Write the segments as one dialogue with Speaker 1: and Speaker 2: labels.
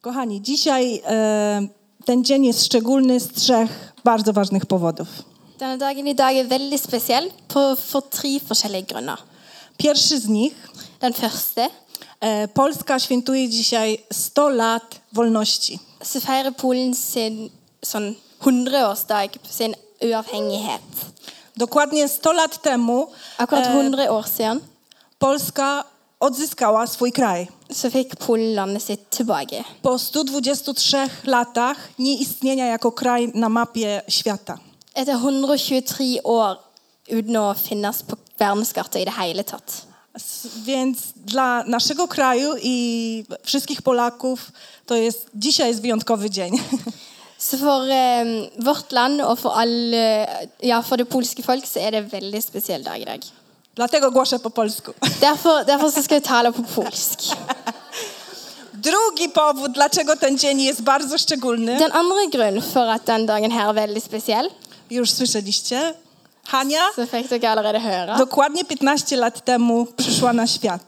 Speaker 1: Kochani, dzisiaj e, ten dzień jest szczególny z trzech bardzo ważnych powodów.
Speaker 2: Denne dagen i dag er veldig spesiell på, for tre forskjellige grunner.
Speaker 1: Pierwszy z nich,
Speaker 2: Den første
Speaker 1: e, Polska świętuje dzisiaj 100 lat wolności.
Speaker 2: så feirer Polen sin sånn 100-årsdag på sin uavhengighet. Eh,
Speaker 1: Dokładnie 100 lat temu
Speaker 2: Akkurat
Speaker 1: e,
Speaker 2: 100 år siden
Speaker 1: Polska odzyskała swój kraj.
Speaker 2: så fikk Polen landet sitt tilbake.
Speaker 1: Po 123 latach nieistnienia jako kraj na mapie świata.
Speaker 2: Etter 123 år uten å finnes på verdenskartet i det hele tatt.
Speaker 1: S- Więc dla naszego kraju i wszystkich Polaków to jest dzisiaj jest wyjątkowy dzień.
Speaker 2: Så for eh, vårt land og for, alle, ja, for det polske folk så er det en veldig spesiell dag i dag.
Speaker 1: Dlatego głoszę po polsku.
Speaker 2: Derfor, derfor så skal jeg tale på polsk.
Speaker 1: Drugi powód, dlaczego ten dzień jest bardzo szczególny,
Speaker 2: Den andre grunnen for at den dagen her er veldig spesiell,
Speaker 1: już słyszeliście. Hania
Speaker 2: så fikk dere allerede høre.
Speaker 1: dokładnie 15 lat temu przyszła na świat.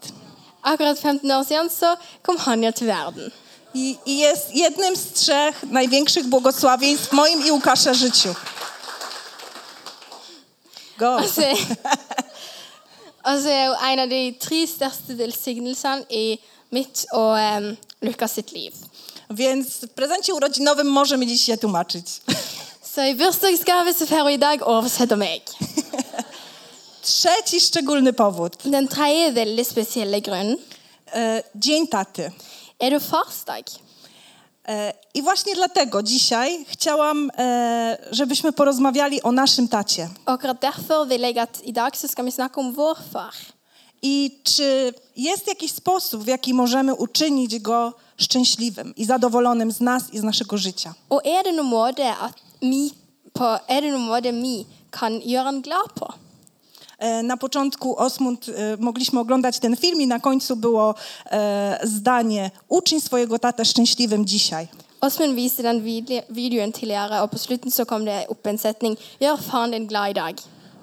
Speaker 2: Akkurat 15 år siden så kom Hanja til verden.
Speaker 1: I, I jest jednym z trzech największych błogosławieństw w moim i Łukasza życiu. Go.
Speaker 2: Og så og så Altså, er hun en av de tre største velsignelsene i mitt og em, Lukas sitt liv.
Speaker 1: Więc w prezencie urodzinowym możemy dziś się tłumaczyć.
Speaker 2: Så i bursdagsgave så får hun i dag oversette meg.
Speaker 1: Trzeci szczególny powód.
Speaker 2: Den tredje veldig spesielle grunnen
Speaker 1: E, dzień taty.
Speaker 2: er det jo farsdag.
Speaker 1: E, I właśnie dlatego dzisiaj chciałam, e, żebyśmy porozmawiali o naszym tacie.
Speaker 2: Og akkurat derfor vil jeg at i dag så skal vi snakke om vår far.
Speaker 1: I czy jest jakiś sposób, w jaki możemy uczynić go szczęśliwym i zadowolonym z nas i z naszego życia?
Speaker 2: Og er det noen måte at vi, på, er det noen måte vi kan gjøre han glad på?
Speaker 1: E, Na początku Osmund e, mogliśmy oglądać ten film i na końcu było e, zdanie uczyń swojego tatę szczęśliwym dzisiaj.
Speaker 2: Åsmund viste den vide- videoen tidligere, og på slutten så kom det opp en setning. Gjør faren din glad i dag.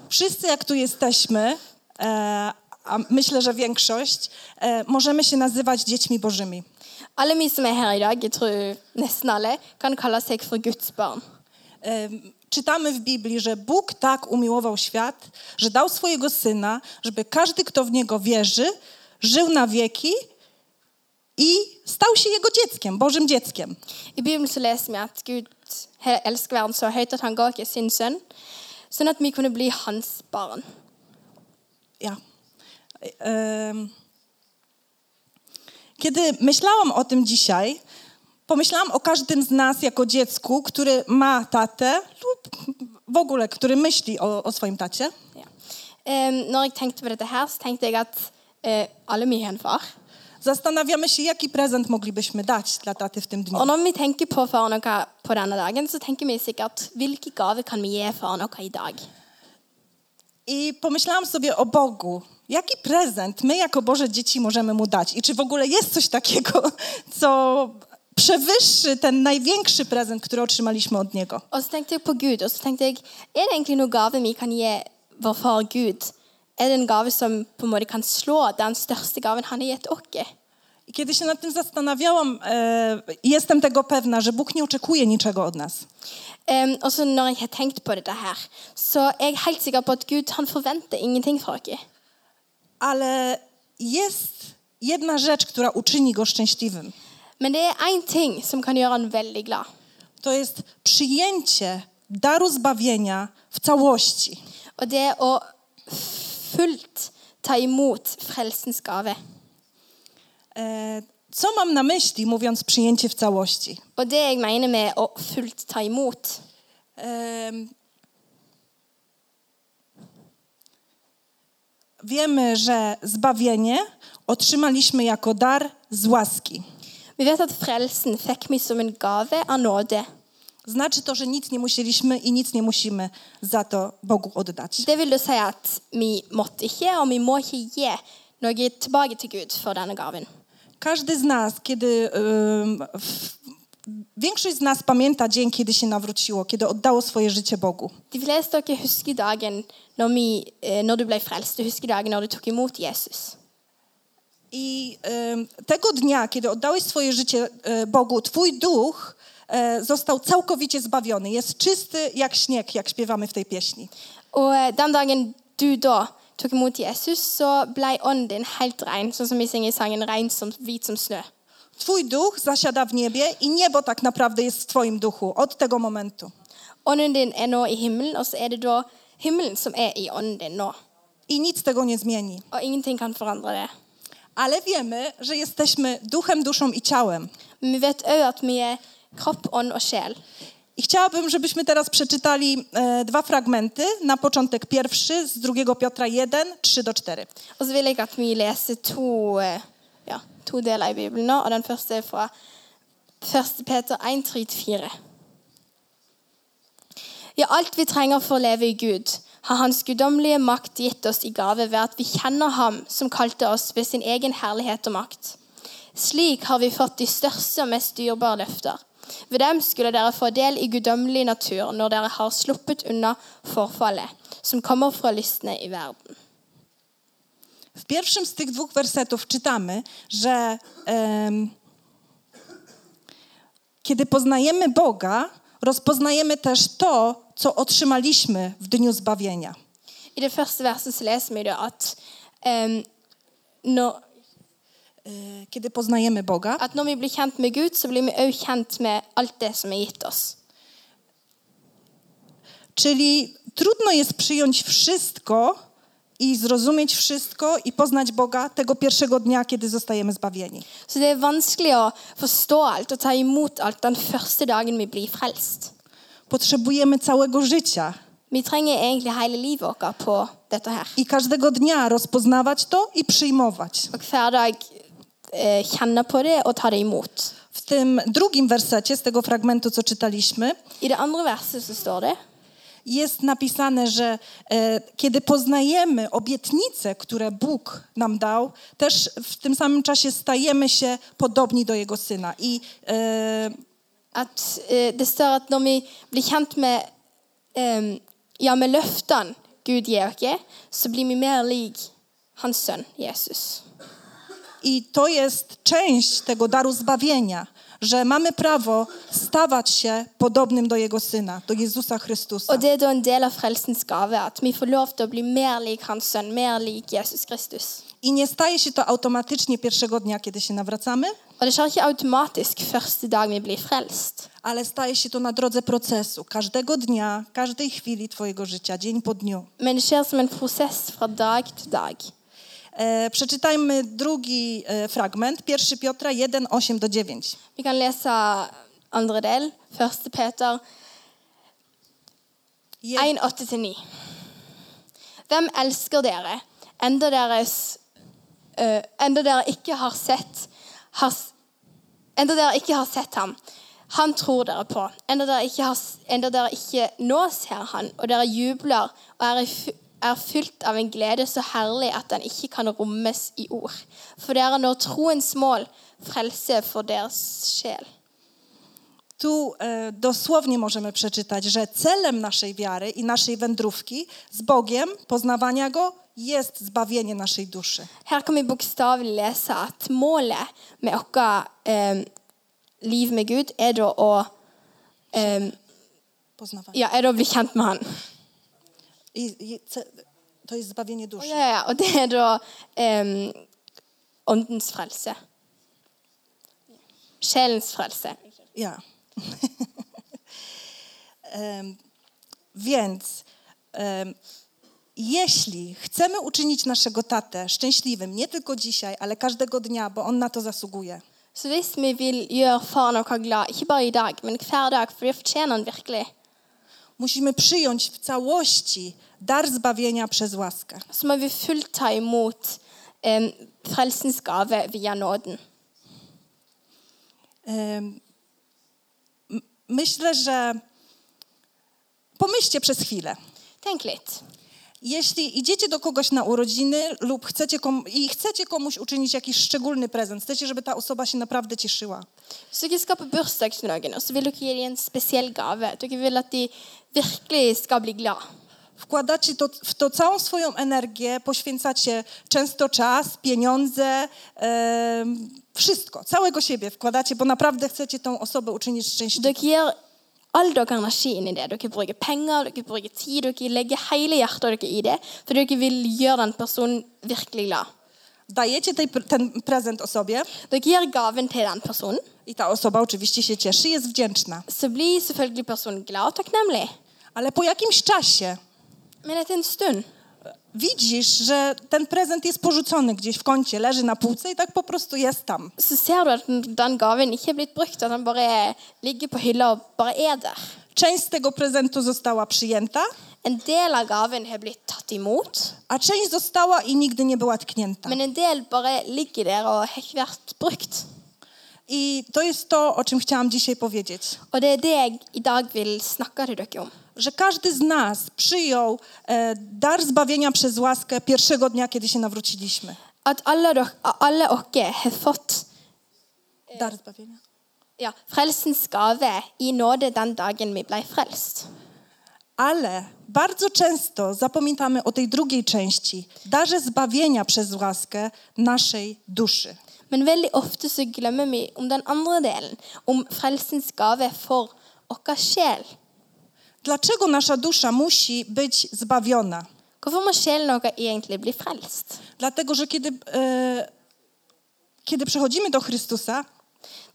Speaker 1: Wszyscy jak tu jesteśmy, e, a myślę, że większość, e, możemy się nazywać dziećmi bożymi.
Speaker 2: Alle vi som er her i dag, jeg tror nesten alle, kan kalle seg for Guds barn.
Speaker 1: E, Czytamy w Biblii, że Bóg tak umiłował świat, że dał swojego Syna, żeby każdy, kto w Niego wierzy, żył na wieki i stał się Jego dzieckiem, Bożym dzieckiem.
Speaker 2: I Bibelen så leser vi at Gud he- elsker verden så høyt at han ga oss sin sønn, sånn at vi kunne bli hans barn.
Speaker 1: Ja. Em, Kiedy myślałam o tym dzisiaj, pomyślałam o każdym z nas jako dziecku, który ma tatę lub w ogóle, który myśli o, o swoim tacie.
Speaker 2: Ja. Em, når jeg tenkte på dette her, så tenkte jeg at eh, alle vi har en far.
Speaker 1: Zastanawiamy się, jaki prezent moglibyśmy dać dla taty w tym dniu.
Speaker 2: Og når vi tenker på faren vår på denne dagen, så tenker vi sikkert hvilke gaver kan vi gi faren vår i dag?
Speaker 1: I pomyślałam sobie o Bogu. Jaki prezent my jako Boże dzieci możemy Mu dać? I czy w ogóle jest coś takiego, co przewyższy ten największy prezent, który otrzymaliśmy od Niego?
Speaker 2: Og så tenkte jeg på Gud, og så tenkte jeg, er det egentlig noen gave vi kan gi vår far Gud? Er det en gave som på en måte kan slå den største gaven han har gitt oss?
Speaker 1: I Kiedy się nad tym zastanawiałam, e, jestem tego pewna, że Bóg nie oczekuje niczego od nas.
Speaker 2: Em, og så når jeg har tenkt på dette her, så er jeg helt sikker på at Gud han forventer ingenting fra oss.
Speaker 1: Ale jest jedna rzecz, która uczyni go szczęśliwym.
Speaker 2: Men det er én ting som kan gjøre han veldig glad.
Speaker 1: To jest przyjęcie daru zbawienia w całości.
Speaker 2: Og det er å fullt ta imot frelsens gave.
Speaker 1: E, Co mam na myśli, mówiąc przyjęcie w całości?
Speaker 2: Og det jeg mener med å fullt ta imot,
Speaker 1: Em, Wiemy, że zbawienie otrzymaliśmy jako dar z łaski.
Speaker 2: Vi vet at frelsen fikk vi som en gave av nåde.
Speaker 1: Znaczy to, że nic nie musieliśmy i nic nie musimy za to Bogu oddać.
Speaker 2: Det vil da si at vi måtte ikke, og vi må ikke gi noe tilbake til Gud for denne gaven.
Speaker 1: Każdy z nas, kiedy. ym, w- Większość z nas pamięta dzień, kiedy się nawróciło, kiedy oddało swoje życie Bogu.
Speaker 2: De fleste av dere husker dagen når, vi, eh, når du ble frelst. Du husker dagen når du tok imot Jesus.
Speaker 1: I em, tego dnia, kiedy oddałeś swoje życie e, Bogu, twój duch e, został całkowicie zbawiony. Jest czysty jak śnieg, jak śpiewamy w tej pieśni.
Speaker 2: Og eh, den dagen du da tok imot Jesus, så ble ånden din helt ren, sånn som vi synger i sangen 'Rein som hvit som snø'.
Speaker 1: Twój duch zasiada w niebie i niebo tak naprawdę jest w twoim duchu od tego momentu.
Speaker 2: Ånden din er nå i himmelen, og så er det da himmelen som er i ånden din nå.
Speaker 1: I nic tego nie zmieni.
Speaker 2: Og ingenting kan forandre det.
Speaker 1: Ale wiemy, że jesteśmy duchem, duszą i ciałem.
Speaker 2: Men vi vet òg at vi er kropp, ånd og sjel.
Speaker 1: I chciałabym, żebyśmy teraz przeczytali e, dwa fragmenty. Na początek pierwszy z 2 Piotra 1, 3 do 4.
Speaker 2: Og så vil jeg at vi leser to, eh, ja, to deler i Bibelen nå, og den første er fra 1. Peter 1, 3-4. Ja, alt vi trenger for å leve i Gud, har Hans guddommelige makt gitt oss i gave ved at vi kjenner Ham som kalte oss ved sin egen herlighet og makt. Slik har vi fått de største og mest dyrebare løfter. Ved dem skulle dere få del i guddommelig natur når dere har sluppet unna forfallet, som kommer fra lystne i verden.
Speaker 1: W pierwszym z tych dwóch wersetów czytamy, że em, kiedy poznajemy Boga, rozpoznajemy też to, co otrzymaliśmy w dniu zbawienia.
Speaker 2: I det første verset så leser vi da at, em, når,
Speaker 1: E, Kiedy poznajemy Boga,
Speaker 2: at når vi blir kjent med Gud, så blir vi også kjent med alt det som er gitt oss.
Speaker 1: Czyli trudno jest przyjąć wszystko i zrozumieć wszystko i poznać Boga tego pierwszego dnia, kiedy zostajemy zbawieni.
Speaker 2: Så det er vanskelig å forstå alt og ta imot alt den første dagen vi blir frelst.
Speaker 1: Potrzebujemy całego życia
Speaker 2: Vi trenger egentlig hele livet vårt på dette her.
Speaker 1: i każdego dnia rozpoznawać to i przyjmować.
Speaker 2: Og hver dag eh, kjenne på det og ta det imot.
Speaker 1: W tym drugim wersecie z tego fragmentu, co czytaliśmy,
Speaker 2: I det andre verset så står det
Speaker 1: jest napisane, że e, kiedy poznajemy obietnice, które Bóg nam dał, też w tym samym czasie stajemy się podobni do Jego Syna. I e,
Speaker 2: at eh, det står at når vi blir kjent med eh, ja, med løftene Gud gir oss, så blir vi mer lik hans sønn Jesus.
Speaker 1: I to jest część tego daru zbawienia, że mamy prawo stawać się podobnym do Jego Syna, do Jezusa Chrystusa.
Speaker 2: Og det er da en del av frelsens gave at vi får lov til å bli mer lik hans sønn, mer lik Jesus Kristus.
Speaker 1: I nie staje się to automatycznie pierwszego dnia, kiedy się nawracamy,
Speaker 2: Og det skjer ikke automatisk første dag vi blir frelst,
Speaker 1: ale staje się to na drodze procesu, każdego dnia, każdej chwili Twojego życia, dzień po dniu.
Speaker 2: men det skjer som en prosess fra dag til dag.
Speaker 1: E, przeczytajmy drugi e, fragment, 1 Piotra 1, 8 do 9.
Speaker 2: Vi kan lese andre del, 1. Peter
Speaker 1: Je-
Speaker 2: 1,8-9. Hvem elsker dere, enda, deres, eh, enda dere ikke har sett har, s- Enda dere ikke har sett ham. Han tror dere på. Enda dere ikke, har, s- enda dere ikke nå ser han, og dere jubler og er, i, fy- er fylt av en glede så herlig at den ikke kan rommes i ord. For dere når troens mål, frelse for deres sjel.
Speaker 1: Tu e, dosłownie możemy przeczytać, że celem naszej wiary i naszej wędrówki z Bogiem, poznawania Go, jest zbawienie naszej duszy.
Speaker 2: Her kan vi bokstavelig lese at målet med vårt eh, liv med Gud er da å eh,
Speaker 1: Poznawanie.
Speaker 2: ja, er da å bli kjent med Han.
Speaker 1: I, i, ce, to jest zbawienie
Speaker 2: Ja,
Speaker 1: duszy.
Speaker 2: ja, ja, og det er da eh, åndens frelse. Sjelens frelse.
Speaker 1: Ja. Em, Więc em, jeśli chcemy uczynić naszego tatę szczęśliwym, nie tylko dzisiaj, ale każdego dnia, bo on na to zasługuje,
Speaker 2: Så hvis vi vil gjøre faren vår glad, ikke bare i dag, men hver dag, for det fortjener han virkelig,
Speaker 1: musimy przyjąć w całości dar zbawienia przez łaskę.
Speaker 2: så må vi fullt ta imot eh, frelsens gave via nåden.
Speaker 1: Em, m- Myślę, że pomyślcie przez chwilę.
Speaker 2: Tenk litt.
Speaker 1: Jeśli idziecie do kogoś na urodziny lub chcecie kom- i chcecie komuś uczynić jakiś szczególny prezent, chcecie, żeby ta osoba się naprawdę cieszyła,
Speaker 2: Så dere skal på bursdag til noen, og så vil dere gi dem en spesiell gave. Dere vil at de virkelig skal bli glad.
Speaker 1: Wkładacie to, w to całą swoją energię, poświęcacie często czas, pieniądze, em, wszystko, całego siebie wkładacie, bo naprawdę chcecie tą osobę uczynić szczęśliwą.
Speaker 2: Dere gir all deres energi inn i det. Dere bruker penger, dere bruker tid, dere legger hele hjertet dere i det, for dere vil gjøre den personen virkelig glad.
Speaker 1: Dajecie tej, pr- ten prezent osobie
Speaker 2: Dere gir gaven til den personen,
Speaker 1: i ta osoba oczywiście się cieszy, jest wdzięczna.
Speaker 2: så blir selvfølgelig personen glad og takknemlig.
Speaker 1: Ale po jakimś czasie
Speaker 2: Men etter en stund
Speaker 1: widzisz, że ten prezent jest porzucony gdzieś w kącie, leży na półce i tak po prostu jest tam.
Speaker 2: så ser du at den, den gaven ikke er blitt brukt, at den bare ligger på hylla og bare er der.
Speaker 1: Część z tego prezentu została przyjęta,
Speaker 2: En del av gaven har blitt tatt imot,
Speaker 1: a część została i nigdy nie była tknięta.
Speaker 2: men en del bare ligger der og har ikke vært brukt.
Speaker 1: I to jest to, o czym chciałam dzisiaj powiedzieć.
Speaker 2: Og det er det jeg i dag vil snakke til dere om.
Speaker 1: Że każdy z nas przyjął e, dar zbawienia przez łaskę pierwszego dnia, kiedy się nawróciliśmy.
Speaker 2: At alle dere, alle dere har fått
Speaker 1: Dar zbawienia.
Speaker 2: ja, frelsens gave i nåde den dagen vi ble frelst.
Speaker 1: Ale bardzo często zapominamy o tej drugiej części, darze zbawienia przez łaskę naszej duszy.
Speaker 2: Men veldig ofte så glemmer vi om den andre delen, om frelsens gave for vår sjel.
Speaker 1: Dlaczego nasza dusza musi być zbawiona?
Speaker 2: Hvorfor må sjelen vår egentlig bli frelst?
Speaker 1: Dlatego, że kiedy, e, kiedy przychodzimy do Chrystusa,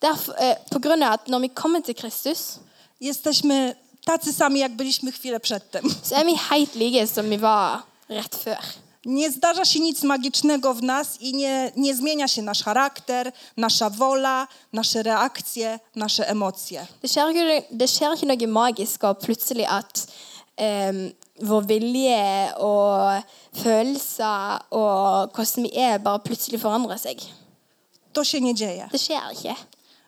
Speaker 2: Derfor, eh, på grunn av at når vi kommer til Kristus,
Speaker 1: jesteśmy tacy sami, jak byliśmy chwilę przedtem.
Speaker 2: så er vi helt like som vi var rett før.
Speaker 1: Nie zdarza się nic magicznego w nas i nie, nie zmienia się nasz charakter, nasza wola, nasze reakcje, nasze emocje.
Speaker 2: Det skjer, ikke, det skjer ikke noe magisk og plutselig at eh, vår vilje og følelser og hvordan vi er, bare plutselig forandrer seg.
Speaker 1: To się nie dzieje.
Speaker 2: Det skjer ikke.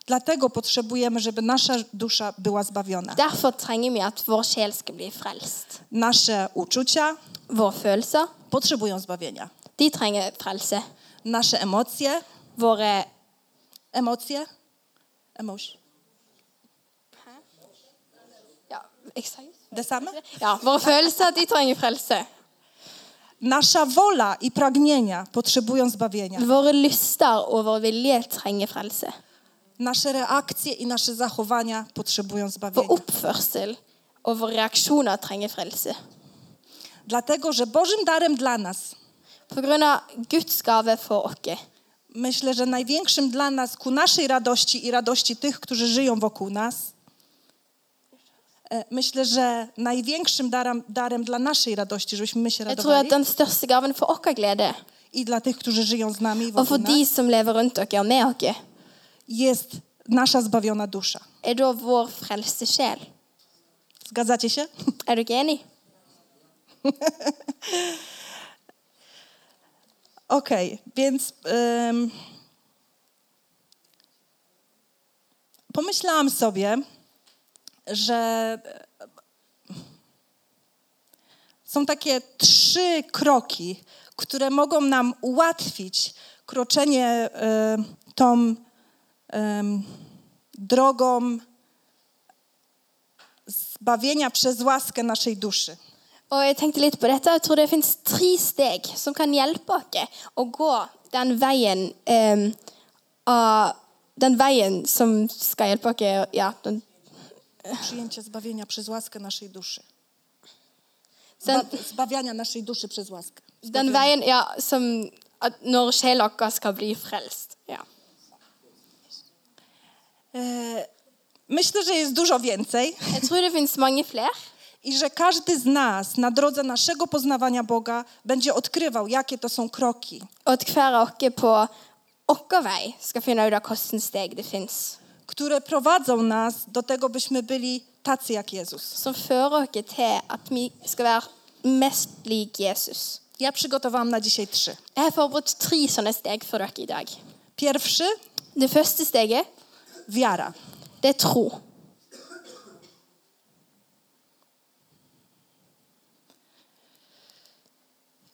Speaker 1: Dlatego potrzebujemy, żeby nasza dusza była zbawiona.
Speaker 2: Derfor trenger vi at vår sjel skal bli frelst.
Speaker 1: Nasze uczucia
Speaker 2: Våre følelser,
Speaker 1: potrzebują zbawienia.
Speaker 2: de trenger frelse.
Speaker 1: Nasze emocje,
Speaker 2: Våre
Speaker 1: emocje, emotion,
Speaker 2: ja, jeg sa-
Speaker 1: te same?
Speaker 2: ja, våre følelser, de trenger frelse.
Speaker 1: Nasza wola i pragnienia potrzebują zbawienia.
Speaker 2: Våre lyster og vår vilje trenger frelse.
Speaker 1: Nasze reakcje i nasze zachowania potrzebują
Speaker 2: Vår
Speaker 1: zbawienia.
Speaker 2: oppførsel og våre reaksjoner trenger frelse.
Speaker 1: Dlatego, że Bożym darem dla nas,
Speaker 2: På grunn av Guds gave for oss.
Speaker 1: myślę, że największym dla nas ku naszej radości i radości tych, którzy żyją wokół nas, e, myślę, że największym darem, darem dla naszej radości, żebyśmy my się
Speaker 2: Jeg tror
Speaker 1: radowali
Speaker 2: at den største gaven for vår glede,
Speaker 1: i dla tych, którzy żyją z nami i
Speaker 2: og
Speaker 1: wokół
Speaker 2: for
Speaker 1: nas,
Speaker 2: de som lever rundt dere og med dere,
Speaker 1: jest nasza zbawiona dusza.
Speaker 2: er da vår frelste sjel.
Speaker 1: Zgadzacie się?
Speaker 2: Er dere enige?
Speaker 1: Okej, więc ym, pomyślałam sobie, że są takie trzy kroki, które mogą nam ułatwić kroczenie y, tą ym, drogą zbawienia przez łaskę naszej duszy.
Speaker 2: Og jeg tenkte litt på dette. Jeg tror det finnes tre steg som kan hjelpe oss å gå den veien eh, av Den veien som skal hjelpe oss ja, den,
Speaker 1: Przyjęcie zbawienia przez łaskę naszej duszy.
Speaker 2: den,
Speaker 1: Zba- zbawiania naszej duszy przez łaskę.
Speaker 2: den veien ja, som at Når sjela vår skal bli frelst. Ja.
Speaker 1: Myślę, że jest dużo więcej
Speaker 2: Jeg tror det finnes mange flere.
Speaker 1: i że każdy z nas na drodze naszego poznawania Boga będzie odkrywał, jakie to są kroki.
Speaker 2: Og at hver av oss på vår vei skal finne ut av hvilke steg det fins.
Speaker 1: które prowadzą nas do tego, byśmy byli tacy jak Jezus.
Speaker 2: Som fører oss til at vi skal være mest lik Jesus.
Speaker 1: Ja przygotowałam na dzisiaj trzy.
Speaker 2: Jeg har forberedt tre sånne steg for dere i dag.
Speaker 1: Pierwszy
Speaker 2: Det første steget,
Speaker 1: wiara.
Speaker 2: det er tro.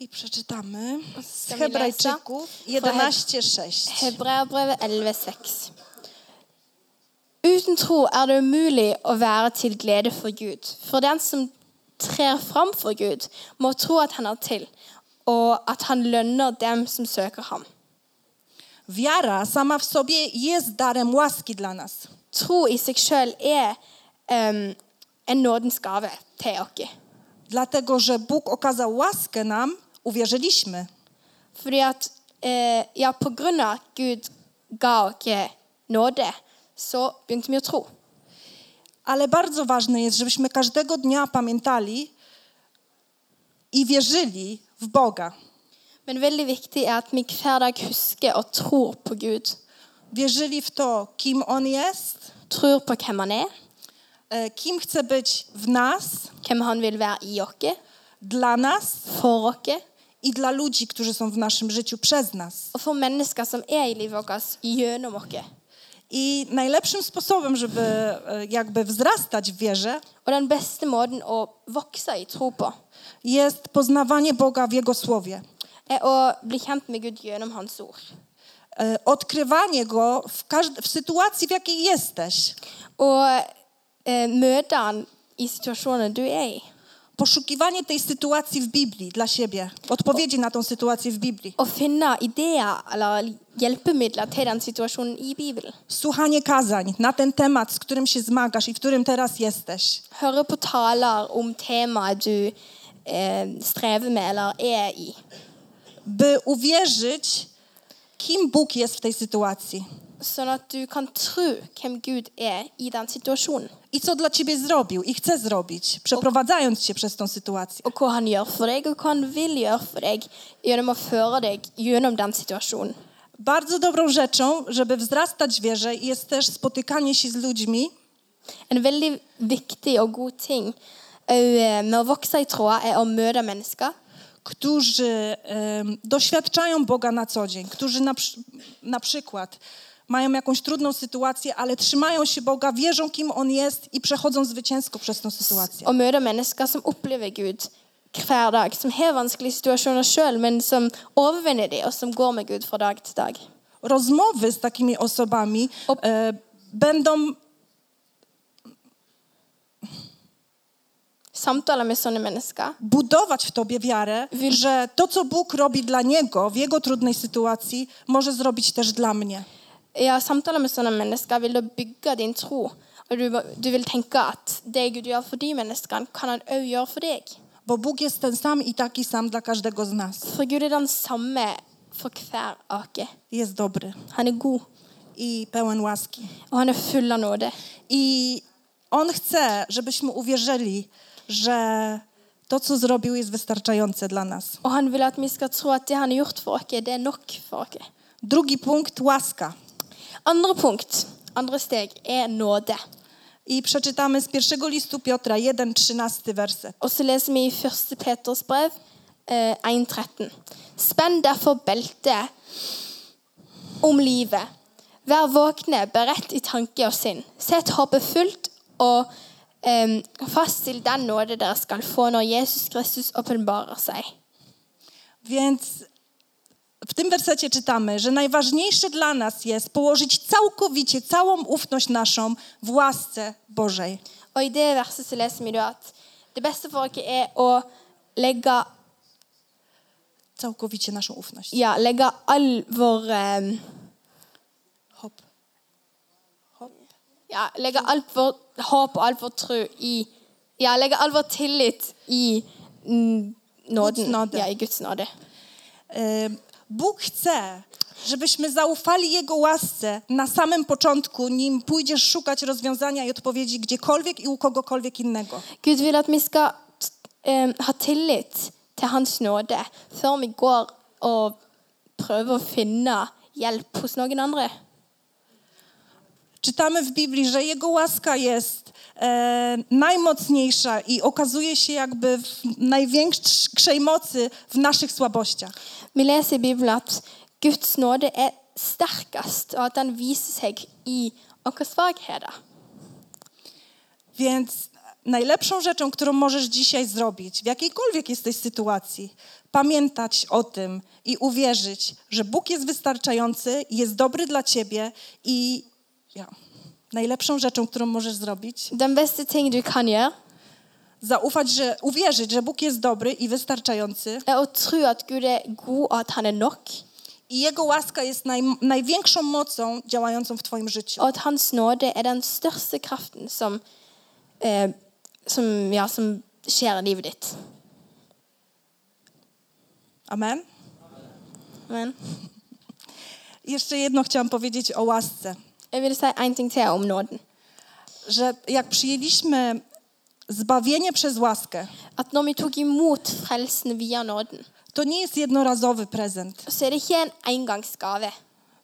Speaker 1: I przeczytamy z
Speaker 2: Kamila
Speaker 1: Hebrajczyków
Speaker 2: Esa.
Speaker 1: 11:6.
Speaker 2: Hebreabrevet 11,6. Uten tro er det umulig å være til glede for Gud. For den som trer fram for Gud, må tro at han er til, og at han lønner dem som søker ham.
Speaker 1: Wiara sama w sobie jest darem łaski dla nas.
Speaker 2: Tro i seg sjøl er em, en nådens gave til oss.
Speaker 1: Dlatego, że Bóg okazał łaskę nam, uwierzyliśmy.
Speaker 2: Fordi at eh, Ja, på grunn av at Gud ga oss nåde, så begynte vi å tro.
Speaker 1: Ale bardzo ważne jest, żebyśmy każdego dnia pamiętali i wierzyli w Boga.
Speaker 2: Men veldig viktig er at vi hver dag husker og tror på Gud.
Speaker 1: Wierzyli w to, kim On jest,
Speaker 2: Tror på hvem han er,
Speaker 1: e, kim chce być w nas,
Speaker 2: hvem han vil være i oss,
Speaker 1: dla nas
Speaker 2: for oss,
Speaker 1: i dla ludzi, którzy są w naszym życiu przez nas.
Speaker 2: og for mennesker som er i livet vårt gjennom oss.
Speaker 1: I najlepszym sposobem, żeby e, jakby wzrastać w wierze,
Speaker 2: Og den beste måten å vokse i tro på
Speaker 1: jest poznawanie Boga w Jego Słowie.
Speaker 2: er å bli kjent med Gud gjennom Hans ord.
Speaker 1: E, Odkrywanie Go w, każd- w sytuacji, w jakiej jesteś.
Speaker 2: Og eh, møte han i situasjonene du er i.
Speaker 1: Poszukiwanie tej sytuacji w Biblii dla siebie. Odpowiedzi na tą sytuację w Biblii.
Speaker 2: Å finne ideer eller hjelpemidler til den situasjonen i Bibelen.
Speaker 1: Słuchanie kazań na ten temat, z którym się zmagasz i w którym teraz jesteś.
Speaker 2: Høre på taler om temaet du eh, strever med eller er i.
Speaker 1: By uwierzyć, kim Bóg jest w tej sytuacji.
Speaker 2: Sånn at du kan tro hvem Gud er i den situasjonen.
Speaker 1: I co dla ciebie zrobił i chce zrobić, przeprowadzając cię przez tą sytuację.
Speaker 2: Og hva han gjør for deg, og hva han vil gjøre for deg gjennom å føre deg gjennom den situasjonen.
Speaker 1: Bardzo dobrą rzeczą, żeby wzrastać w wierze, jest też spotykanie się z ludźmi,
Speaker 2: En veldig viktig og god ting eh, med å vokse i tråder er å møte mennesker
Speaker 1: którzy em, doświadczają Boga na co dzień, którzy na, przy- na przykład mają jakąś trudną sytuację, ale trzymają się Boga, wierzą, kim On jest i przechodzą zwycięsko przez tą sytuację.
Speaker 2: og møte mennesker som opplever Gud hver dag, som har vanskelige situasjoner sjøl, men som overvinner de, og som går med Gud fra dag til dag.
Speaker 1: Rozmowy z takimi osobami
Speaker 2: Op-
Speaker 1: e, będą,
Speaker 2: Samtaler med sånne mennesker
Speaker 1: budować w tobie wiarę,
Speaker 2: Wil-
Speaker 1: że to, co Bóg robi dla niego w jego trudnej sytuacji, może zrobić też dla mnie.
Speaker 2: ja, samtaler med sånne mennesker vil da bygge din tro, og du, må- du vil tenke at det Gud gjør for de menneskene, kan han òg gjøre for deg.
Speaker 1: Bo Bóg jest ten sam i taki sam dla każdego z nas.
Speaker 2: For Gud er den samme for hver ake.
Speaker 1: Jest dobry
Speaker 2: Han er god,
Speaker 1: i pełen łaski.
Speaker 2: og han er full av nåde.
Speaker 1: I On chce, żebyśmy uwierzyli, że to, co zrobił, jest wystarczające dla nas.
Speaker 2: Og han vil at vi skal tro at det han har gjort for oss, det er nok for oss.
Speaker 1: Drugi punkt łaska.
Speaker 2: Andre punkt, andre steg, er nåde.
Speaker 1: I przeczytamy z pierwszego listu Piotra 1, 13 werset.
Speaker 2: Og så leser vi i 1. Peters brev, eh, 1.13. Spenn derfor beltet om livet. Vær våkne, beredt i tanke og sinn. Sett håpet fullt og eh, fast til den nåde dere skal få når Jesus Kristus åpenbarer seg.
Speaker 1: Więc w tym wersecie czytamy, że najważniejsze dla nas jest położyć całkowicie całą ufność naszą w łasce Bożej.
Speaker 2: Og i det verset så leser vi da at det beste for dere er å legge
Speaker 1: Całkowicie naszą ufność.
Speaker 2: ja, legge all vår eh,
Speaker 1: Hop. Hop.
Speaker 2: ja, legge alt vårt håp og alt vår tro i Ja, legge all vår tillit i mm, nåden.
Speaker 1: Guds nåde.
Speaker 2: Ja, i Guds nåde.
Speaker 1: Ym, Bóg chce, żebyśmy zaufali Jego łasce na samym początku, nim pójdziesz szukać rozwiązania i odpowiedzi gdziekolwiek i u kogokolwiek innego.
Speaker 2: Gud vil at vi skal eh, ha tillit til Hans nåde før vi går og prøver å finne hjelp hos noen andre.
Speaker 1: Czytamy w Biblii, że Jego łaska jest e, najmocniejsza i okazuje się jakby w największej mocy w naszych słabościach.
Speaker 2: Vi leser i Bibelen at Guds nåde er sterkest, og at den viser seg i våre svakheter.
Speaker 1: Więc najlepszą rzeczą, którą możesz dzisiaj zrobić, w jakiejkolwiek jesteś sytuacji, pamiętać o tym i uwierzyć, że Bóg jest wystarczający, jest dobry dla ciebie i ja. najlepszą rzeczą, którą możesz zrobić,
Speaker 2: Den beste ting du kan gjøre,
Speaker 1: zaufać, że uwierzyć, że Bóg jest dobry i wystarczający
Speaker 2: Eh, Å tro at Gud er god, og at han er nok,
Speaker 1: i Jego łaska jest naj, największą mocą działającą w Twoim życiu.
Speaker 2: og at hans nåde er den største kraften som, eh, som, ja, som skjer i livet ditt.
Speaker 1: Amen.
Speaker 2: Amen.
Speaker 1: Jeszcze jedno chciałam powiedzieć o łasce,
Speaker 2: Jeg vil si en ting til om nåden.
Speaker 1: że jak przyjęliśmy zbawienie przez łaskę,
Speaker 2: At når vi tok imot frelsen via nåden,
Speaker 1: to nie jest jednorazowy prezent.
Speaker 2: så er det ikke en engangsgave.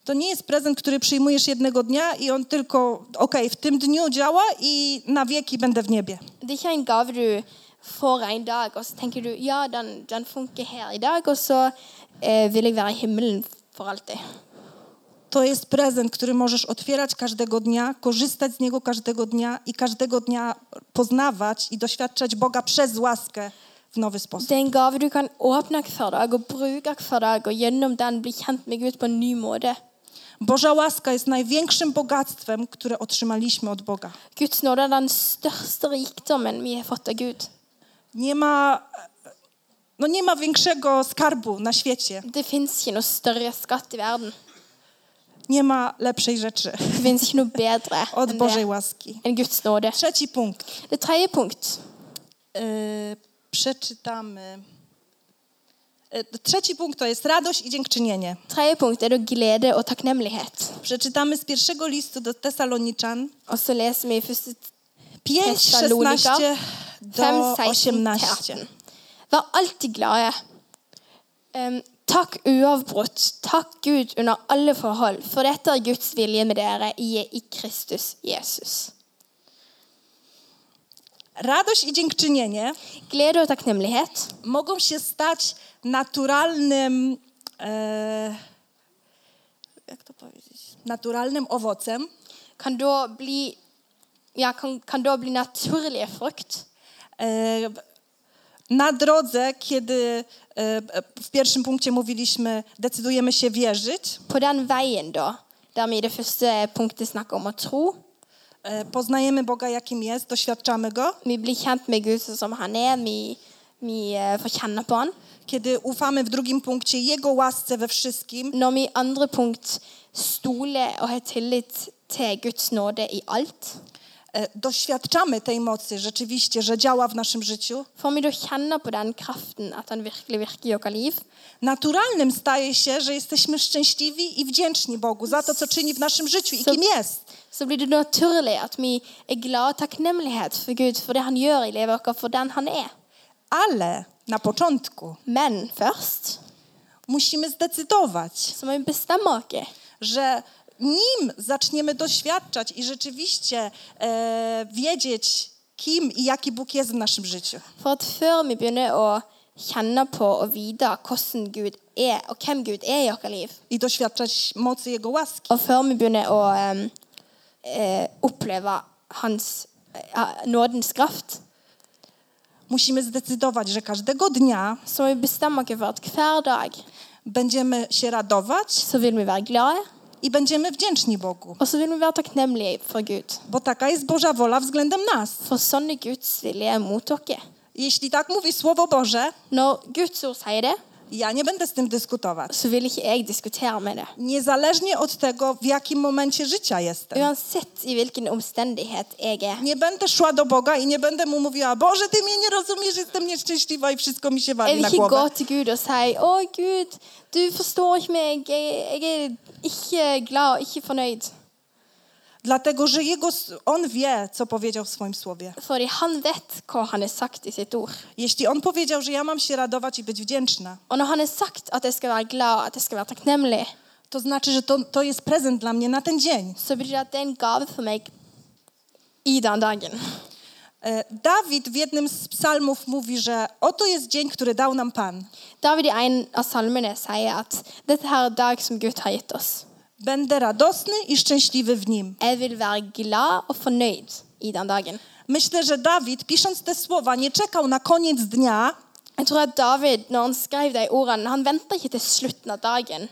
Speaker 1: To nie jest prezent, który przyjmujesz jednego dnia i on tylko, okej, w tym dniu działa i na wieki będę w niebie.
Speaker 2: Det er ikke en gave du får en dag, og så tenker du ja, den, den funker her i dag, og så eh, vil jeg være i himmelen for alltid.
Speaker 1: To jest prezent, który możesz otwierać każdego dnia, korzystać z niego każdego dnia i każdego dnia poznawać i doświadczać Boga przez łaskę w nowy sposób.
Speaker 2: Det er en gave du kan åpne hver dag og bruke hver dag, og gjennom den bli kjent med Gud på en ny måte.
Speaker 1: Boża łaska jest największym bogactwem, które otrzymaliśmy od Boga.
Speaker 2: Guds nåde er den største rikdommen vi har fått av Gud.
Speaker 1: Nie ma, no nie ma większego skarbu na świecie,
Speaker 2: Det fins ikke noe større skatt i verden.
Speaker 1: nie ma lepszej rzeczy
Speaker 2: Det fins ikke noe bedre
Speaker 1: od
Speaker 2: enn
Speaker 1: Bożej
Speaker 2: det.
Speaker 1: łaski.
Speaker 2: Enn Guds nåde.
Speaker 1: Trzeci punkt.
Speaker 2: Det tredje punkt.
Speaker 1: Yy, przeczytamy. Yy, Trzeci punkt to jest radość i dziękczynienie.
Speaker 2: Tredje punkt er da glede og takknemlighet.
Speaker 1: Przeczytamy z pierwszego listu do Tesaloniczan
Speaker 2: Og så leser vi i første
Speaker 1: 5,
Speaker 2: Tesalonika
Speaker 1: 16 do
Speaker 2: 5, 16
Speaker 1: 18.
Speaker 2: 18. Vær alltid glade. Em, takk uavbrutt. Takk Gud under alle forhold, for dette er Guds vilje med dere i, i Kristus Jesus.
Speaker 1: Radość i dziękczynienie
Speaker 2: Glede og takknemlighet
Speaker 1: mogą się stać naturalnym, e, jak to powiedzieć, naturalnym owocem
Speaker 2: kan da bli ja, kan, kan da bli naturlige frukt
Speaker 1: e, na drodze, kiedy e, w pierwszym punkcie mówiliśmy, decydujemy się wierzyć,
Speaker 2: på den veien, da. Der vi i det første punktet snakker om å tro.
Speaker 1: e, poznajemy Boga, jakim jest, doświadczamy Go.
Speaker 2: Vi blir kjent med Gud sånn som han er. Vi, vi eh, får kjenne på han.
Speaker 1: Kiedy ufamy w drugim punkcie Jego łasce we wszystkim,
Speaker 2: Når vi i andre punkt stoler og har tillit til Guds nåde i alt,
Speaker 1: e, doświadczamy tej mocy rzeczywiście, że działa w naszym życiu,
Speaker 2: får vi da kjenne på den kraften at han virkelig virker i vårt liv.
Speaker 1: naturalnym staje się, że jesteśmy szczęśliwi i wdzięczni Bogu za to, co czyni w naszym życiu i kim jest.
Speaker 2: Så blir det naturlig at vi er glad og takknemlighet for Gud for det han gjør i livet vårt, for den han er.
Speaker 1: Ale na początku
Speaker 2: Men først
Speaker 1: musimy zdecydować,
Speaker 2: så må vi bestemme oss.
Speaker 1: że nim zaczniemy doświadczać i rzeczywiście e, wiedzieć, kim i jaki Bóg jest w naszym życiu,
Speaker 2: For at før vi begynner å kjenne på og vite hvordan Gud er, og hvem Gud er i vårt liv,
Speaker 1: i doświadczać mocy Jego łaski,
Speaker 2: Og før vi begynner å em, eh, oppleve hans, eh, nådens kraft,
Speaker 1: musimy zdecydować, że każdego dnia
Speaker 2: så må vi bestemme oss for at hver dag
Speaker 1: będziemy się radować
Speaker 2: så vil vi være glade,
Speaker 1: i będziemy wdzięczni Bogu,
Speaker 2: og så vil vi være takknemlige for Gud.
Speaker 1: bo taka jest Boża wola względem nas.
Speaker 2: For sånn er Guds vilje mot dere.
Speaker 1: Jeśli tak mówi Słowo Boże,
Speaker 2: Når Guds ord sier det,
Speaker 1: Ja nie będę z tym dyskutować.
Speaker 2: så vil ikke jeg diskutere med det.
Speaker 1: Niezależnie od tego, w jakim momencie życia jestem.
Speaker 2: Uansett i hvilken omstendighet jeg er.
Speaker 1: Nie będę szła do Boga i nie będę mu mówiła, Boże, ty mnie nie rozumiesz, jestem nieszczęśliwa i wszystko mi się
Speaker 2: Jeg
Speaker 1: wali
Speaker 2: vil
Speaker 1: na
Speaker 2: ikke gå
Speaker 1: głowę.
Speaker 2: til Gud og si 'Å, Gud, du forstår ikke meg. Jeg, jeg er ikke glad og ikke fornøyd.'
Speaker 1: Dlatego, że jego, s- On wie, co powiedział w swoim słowie.
Speaker 2: Fordi han vet hva han har sagt i sitt ord.
Speaker 1: Jeśli On powiedział, że ja mam się radować i być wdzięczna,
Speaker 2: Og når han har sagt at jeg skal være glad, at jeg skal være takknemlig,
Speaker 1: to znaczy, że to, to jest prezent dla mnie na ten dzień.
Speaker 2: så betyr det at det er en gave for meg i den dagen.
Speaker 1: E, Dawid w jednym z psalmów mówi, że oto jest dzień, który dał nam Pan.
Speaker 2: David i en av salmene sier at dette her er dag som Gud har gitt oss.
Speaker 1: Będę radosny i szczęśliwy w nim.
Speaker 2: Jeg vil være glad og fornøyd i den dagen.
Speaker 1: Myślę, że Dawid, pisząc te słowa, nie czekał na koniec dnia,
Speaker 2: Jeg tror at David, når han skrev de ordene, han venta ikke til slutten av dagen.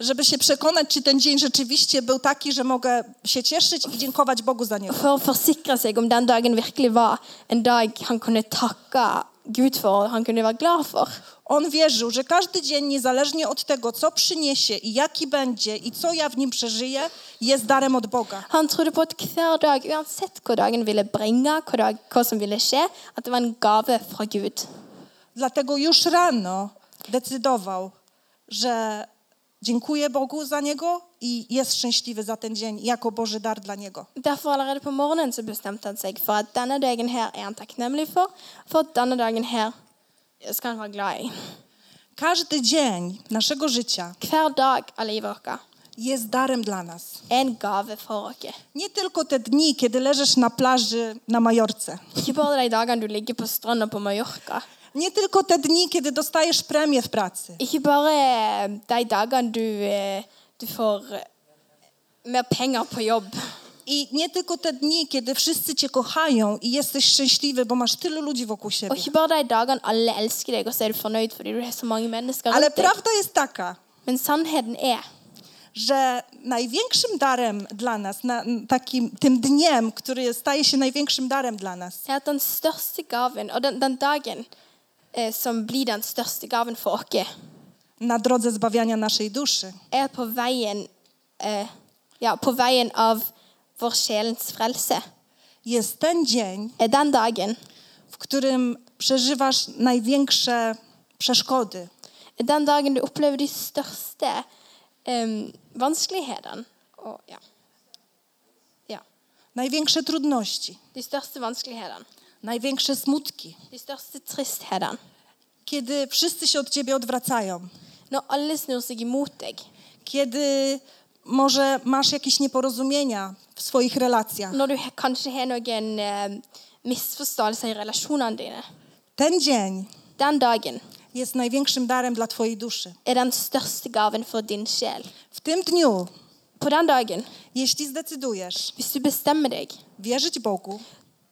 Speaker 1: żeby się przekonać, czy ten dzień rzeczywiście był taki, że mogę się cieszyć i dziękować Bogu za niego.
Speaker 2: for å forsikre seg om den dagen virkelig var en dag han kunne takke Gud for, og han kunne være glad for.
Speaker 1: On wierzył, że każdy dzień, niezależnie od tego, co przyniesie i jaki będzie i co ja w nim przeżyję, jest darem od Boga.
Speaker 2: Han trodde på at hver dag, uansett hva dagen ville bringe, hva, dag, hva som ville skje, at det var en gave fra Gud.
Speaker 1: Dlatego już rano decydował, że dziękuję Bogu za niego i jest szczęśliwy za ten dzień jako Boży dar dla niego.
Speaker 2: Derfor allerede på morgenen så bestemte han seg for at denne dagen her er han takknemlig for, for at denne dagen her skal han være glad i.
Speaker 1: Każdy dzień naszego życia
Speaker 2: Hver dag av livet vårt
Speaker 1: jest darem dla nas.
Speaker 2: er en gave for oss.
Speaker 1: Nie tylko te dni, kiedy leżysz na plaży na Majorce.
Speaker 2: Ikke bare de dagene du ligger på stranda på Mallorca.
Speaker 1: Nie tylko te dni, kiedy dostajesz premię w pracy.
Speaker 2: Ikke bare eh, de dagene du, eh, du får eh, mer penger på jobb.
Speaker 1: I nie tylko te dni, kiedy wszyscy cię kochają i jesteś szczęśliwy, bo masz tylu ludzi wokół
Speaker 2: Og
Speaker 1: siebie.
Speaker 2: ikke bare de dagene alle elsker deg, og så er du fornøyd fordi du har så mange mennesker
Speaker 1: Ale
Speaker 2: rundt deg.
Speaker 1: prawda jest taka,
Speaker 2: Men sannheten er
Speaker 1: że największym darem dla nas, na, takim tym dniem, który staje się największym darem dla nas,
Speaker 2: er at den største gaven, og den, den dagen eh, som blir den største gaven for oss,
Speaker 1: na drodze zbawiania naszej duszy,
Speaker 2: er på veien, eh, ja, på veien av vår sjelens frelse.
Speaker 1: jest ten dzień,
Speaker 2: Er den dagen,
Speaker 1: w którym przeżywasz największe przeszkody,
Speaker 2: er den dagen du opplever de største eh, vanskelighetene. Og, ja. ja.
Speaker 1: największe trudności,
Speaker 2: De største vanskelighetene.
Speaker 1: największe smutki,
Speaker 2: De største tristhetene.
Speaker 1: kiedy wszyscy się od ciebie odwracają,
Speaker 2: Når alle snur seg imot deg.
Speaker 1: kiedy może masz jakieś nieporozumienia w swoich relacjach.
Speaker 2: Når du he- kanskje har noen eh, misforståelser i relasjonene dine.
Speaker 1: Ten dzień
Speaker 2: Den dagen
Speaker 1: jest największym darem dla twojej duszy.
Speaker 2: er den største gaven for din sjel.
Speaker 1: W tym dniu,
Speaker 2: På den dagen,
Speaker 1: jeśli zdecydujesz,
Speaker 2: hvis du bestemmer deg,
Speaker 1: wierzyć Bogu,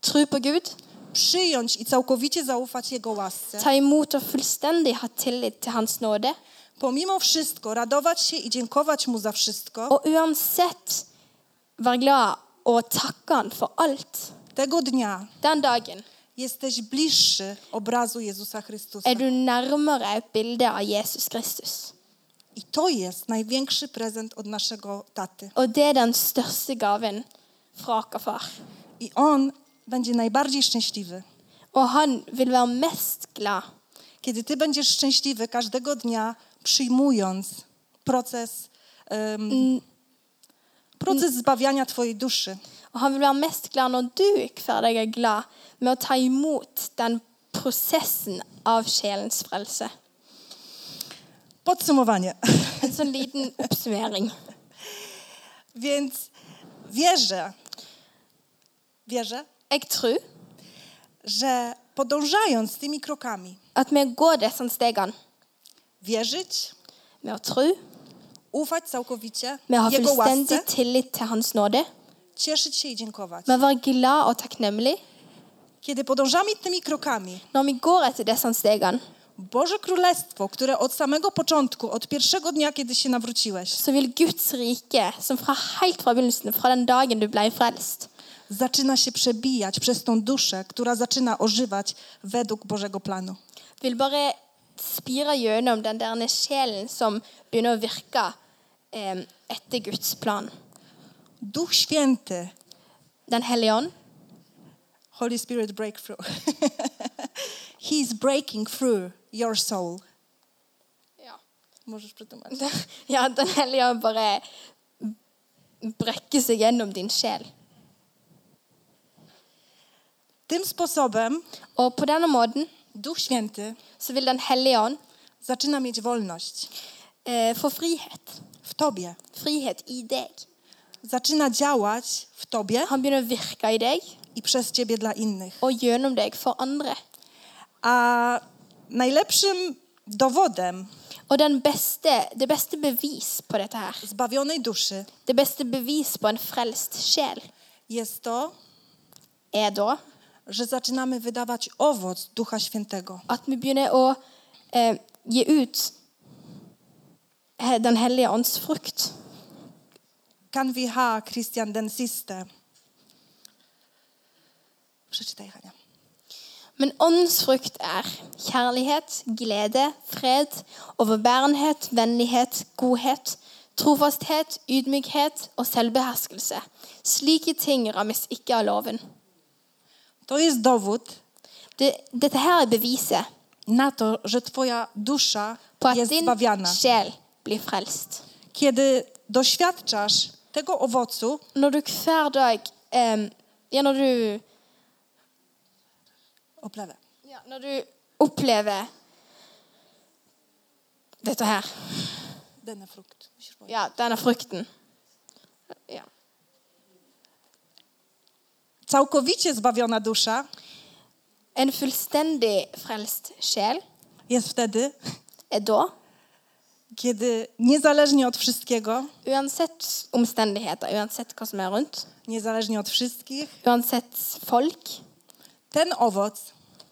Speaker 2: tro på Gud
Speaker 1: przyjąć i całkowicie zaufać Jego łasce,
Speaker 2: Ta imot og fullstendig ha tillit til Hans nåde.
Speaker 1: pomimo wszystko radować się i dziękować Mu za wszystko,
Speaker 2: Og uansett være glad og takke Han for alt.
Speaker 1: tego dnia
Speaker 2: Den dagen
Speaker 1: jesteś bliższy obrazu Jezusa Chrystusa.
Speaker 2: er du nærmere bildet av Jesus Kristus.
Speaker 1: I to jest największy prezent od naszego taty.
Speaker 2: Og det er den største gaven fra vår far.
Speaker 1: I On będzie najbardziej szczęśliwy.
Speaker 2: Og han vil være mest glad
Speaker 1: Kiedy Ty będziesz szczęśliwy każdego dnia, przyjmując proces, em, proces zbawiania Twojej duszy.
Speaker 2: Og han vil være mest glad når du hver dag er glad med å ta imot den prosessen av sjelens frelse.
Speaker 1: Podsumowanie.
Speaker 2: En sånn liten oppsummering.
Speaker 1: Więc wierzę, wierzę,
Speaker 2: Jeg tror
Speaker 1: że podążając tymi krokami,
Speaker 2: at med å gå disse sånn stegene
Speaker 1: wierzyć,
Speaker 2: med å tro,
Speaker 1: ufać całkowicie
Speaker 2: med å ha
Speaker 1: Jego
Speaker 2: fullstendig
Speaker 1: łasce,
Speaker 2: tillit til Hans nåde,
Speaker 1: cieszyć się i dziękować.
Speaker 2: med å være glad og takknemlig.
Speaker 1: Kiedy podążamy tymi krokami,
Speaker 2: Når vi går etter disse stegene,
Speaker 1: Boże Królestwo, które od samego początku, od pierwszego dnia, kiedy się nawróciłeś,
Speaker 2: så vil Guds rike, som fra helt fra begynnelsen, fra den dagen du ble frelst,
Speaker 1: zaczyna się przebijać przez tą duszę, która zaczyna ożywać według Bożego planu.
Speaker 2: vil bare spire gjennom den der sjelen som begynner å virke eh, etter Guds plan.
Speaker 1: Duch Święty,
Speaker 2: Den hellige ånd,
Speaker 1: Holy Spirit breakthrough. He is breaking through your soul.
Speaker 2: ja.
Speaker 1: Możesz przetłumaczyć.
Speaker 2: den hellige ånd bare brekker seg gjennom din sjel.
Speaker 1: Tym sposobem
Speaker 2: Og på denne måten
Speaker 1: Duch Święty
Speaker 2: så vil Den hellige ånd
Speaker 1: zaczyna mieć wolność
Speaker 2: eh, få frihet.
Speaker 1: w Tobie.
Speaker 2: frihet i deg.
Speaker 1: Zaczyna działać w Tobie
Speaker 2: Han begynner å virke i deg
Speaker 1: i przez Ciebie dla innych.
Speaker 2: og gjennom deg for andre.
Speaker 1: A najlepszym dowodem
Speaker 2: Og den beste, det beste bevis på dette her,
Speaker 1: zbawionej duszy
Speaker 2: det beste bevis på en frelst sjel,
Speaker 1: jest to,
Speaker 2: er da
Speaker 1: że zaczynamy wydawać owoc Ducha Świętego.
Speaker 2: at vi begynner å eh, gi ut he- Den hellige ånds frukt.
Speaker 1: Kan vi ha, Christian, den siste? Przeczytaj, Hania.
Speaker 2: Men åndens frukt er kjærlighet, glede, fred, overbærenhet, vennlighet, godhet, trofasthet, ydmykhet og selvbeherskelse. Slike ting rammes ikke av loven.
Speaker 1: To jest dowód
Speaker 2: Det, dette her er beviset
Speaker 1: na to, że Twoja dusza
Speaker 2: på at
Speaker 1: jest
Speaker 2: din
Speaker 1: zbawiana.
Speaker 2: sjel blir frelst.
Speaker 1: Kiedy doświadczasz tego owocu,
Speaker 2: Når du hver dag eh, ja, når, du,
Speaker 1: oprawę,
Speaker 2: ja, når du opplever dette her,
Speaker 1: denne frukt, musisz powiedzieć.
Speaker 2: ja, denne frukten ja.
Speaker 1: całkowicie zbawiona dusza
Speaker 2: En fullstendig frelst sjel
Speaker 1: jest wtedy,
Speaker 2: er da,
Speaker 1: kiedy niezależnie od wszystkiego,
Speaker 2: uansett omstendigheter, uansett hva som er rundt,
Speaker 1: niezależnie od wszystkich,
Speaker 2: uansett folk,
Speaker 1: ten owoc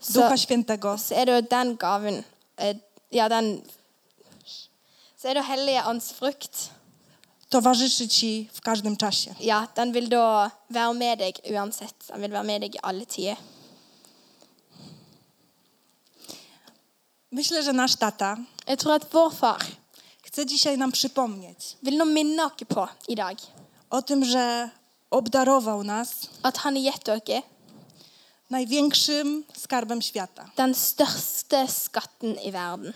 Speaker 2: Så-
Speaker 1: Ducha Świętego
Speaker 2: så er det jo den gaven eh, Ja, den Så er det Hellige Ånds frukt.
Speaker 1: towarzyszy Ci w każdym czasie.
Speaker 2: Ja, den vil da være med deg uansett. Den vil være med deg i alle tider.
Speaker 1: Myślę, że nasz tata
Speaker 2: Jeg tror at vår far
Speaker 1: chce dzisiaj nam przypomnieć
Speaker 2: vil nå minne oss på i dag
Speaker 1: o tym, że obdarował nas
Speaker 2: at han har gitt dere
Speaker 1: największym skarbem świata.
Speaker 2: den største skatten i verden.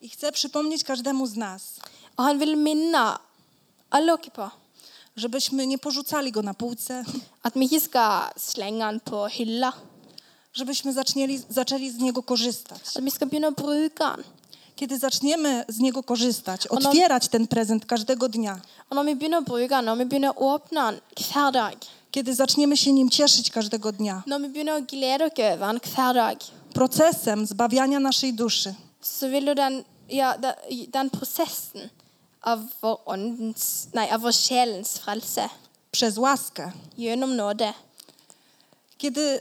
Speaker 1: I chcę przypomnieć każdemu z nas,
Speaker 2: Og han vil minne alle dere på
Speaker 1: żebyśmy nie porzucali go na półce,
Speaker 2: at vi ikke skal slenge han på hylla.
Speaker 1: żebyśmy zacznieli, zaczęli z niego korzystać.
Speaker 2: At vi skal begynne å bruke han.
Speaker 1: Kiedy zaczniemy z niego korzystać, otwierać ten prezent każdego dnia,
Speaker 2: Og når vi begynner å bruke han, når vi begynner å åpne han hver dag,
Speaker 1: kiedy zaczniemy się nim cieszyć każdego dnia,
Speaker 2: når vi begynner å glede oss over han hver dag,
Speaker 1: procesem zbawiania naszej duszy
Speaker 2: så vil jo den, ja, den, den prosessen av vår, åndens, nei, av vår sjelens frelse
Speaker 1: przez łaskę,
Speaker 2: gjennom nåde
Speaker 1: kiedy,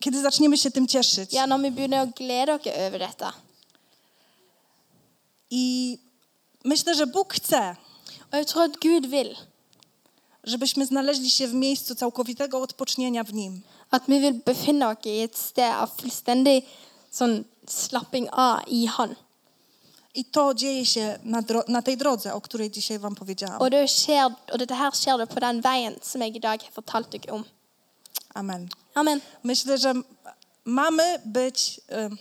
Speaker 1: kiedy zaczniemy się tym cieszyć
Speaker 2: Ja, når vi begynner å glede oss over dette.
Speaker 1: i myślę, że Bóg chce,
Speaker 2: Og jeg tror at Gud vil
Speaker 1: żebyśmy znaleźli się w miejscu całkowitego odpocznienia w Nim.
Speaker 2: at vi vil befinne oss i et sted av fullstendig sånn slapping av i Han.
Speaker 1: I to dzieje się na, dro- na tej drodze, o której dzisiaj Wam powiedziałam.
Speaker 2: Og, det skjer, og dette her skjer det på den veien som jeg i dag har fortalt dere om.
Speaker 1: Amen.
Speaker 2: Amen.
Speaker 1: Myślę, że m- mamy być. y,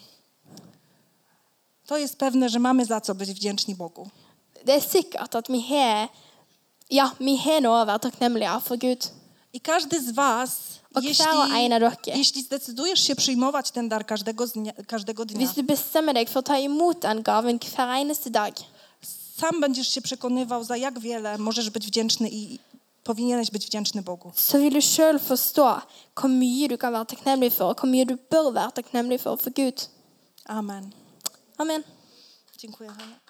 Speaker 1: To jest pewne, że mamy za co być wdzięczni Bogu.
Speaker 2: Det er sikkert at vi har Ja, vi har noe å være takknemlige for Gud.
Speaker 1: I każdy z Was,
Speaker 2: O
Speaker 1: jeśli,
Speaker 2: chwała, a nie roki.
Speaker 1: jeśli zdecydujesz się przyjmować ten dar każdego, z dnia, każdego dnia,
Speaker 2: Hvis du bestemmer deg for å ta imot den gaven hver eneste dag,
Speaker 1: sam będziesz się przekonywał, za jak wiele możesz być wdzięczny i powinieneś być wdzięczny Bogu.
Speaker 2: så vil du sjøl forstå hvor mye du kan være takknemlig for, og hvor mye du bør være takknemlig for for Gud.
Speaker 1: Amen.
Speaker 2: Amen.
Speaker 1: Dziękuję. Hania.